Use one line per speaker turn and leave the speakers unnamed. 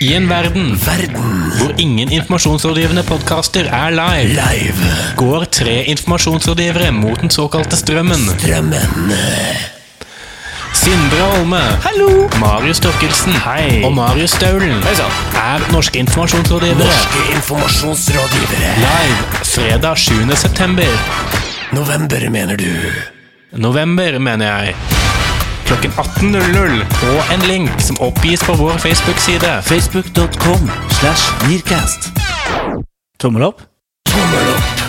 I en verden hvor ingen informasjonsrådgivende podkaster er live,
Live
går tre informasjonsrådgivere mot den såkalte strømmen.
Drømmen
Sindre Olme,
Hallo
Marius Torkelsen
Hei.
og Marius Staulen
Hei sann.
er norske informasjonsrådgivere.
Norske informasjonsrådgivere
Live fredag 7. september.
November mener du
November, mener jeg. Klokken 18.00 og en link som oppgis på vår Facebook-side.
Facebook.com slash Nearcast. Tommel opp.
Tommel opp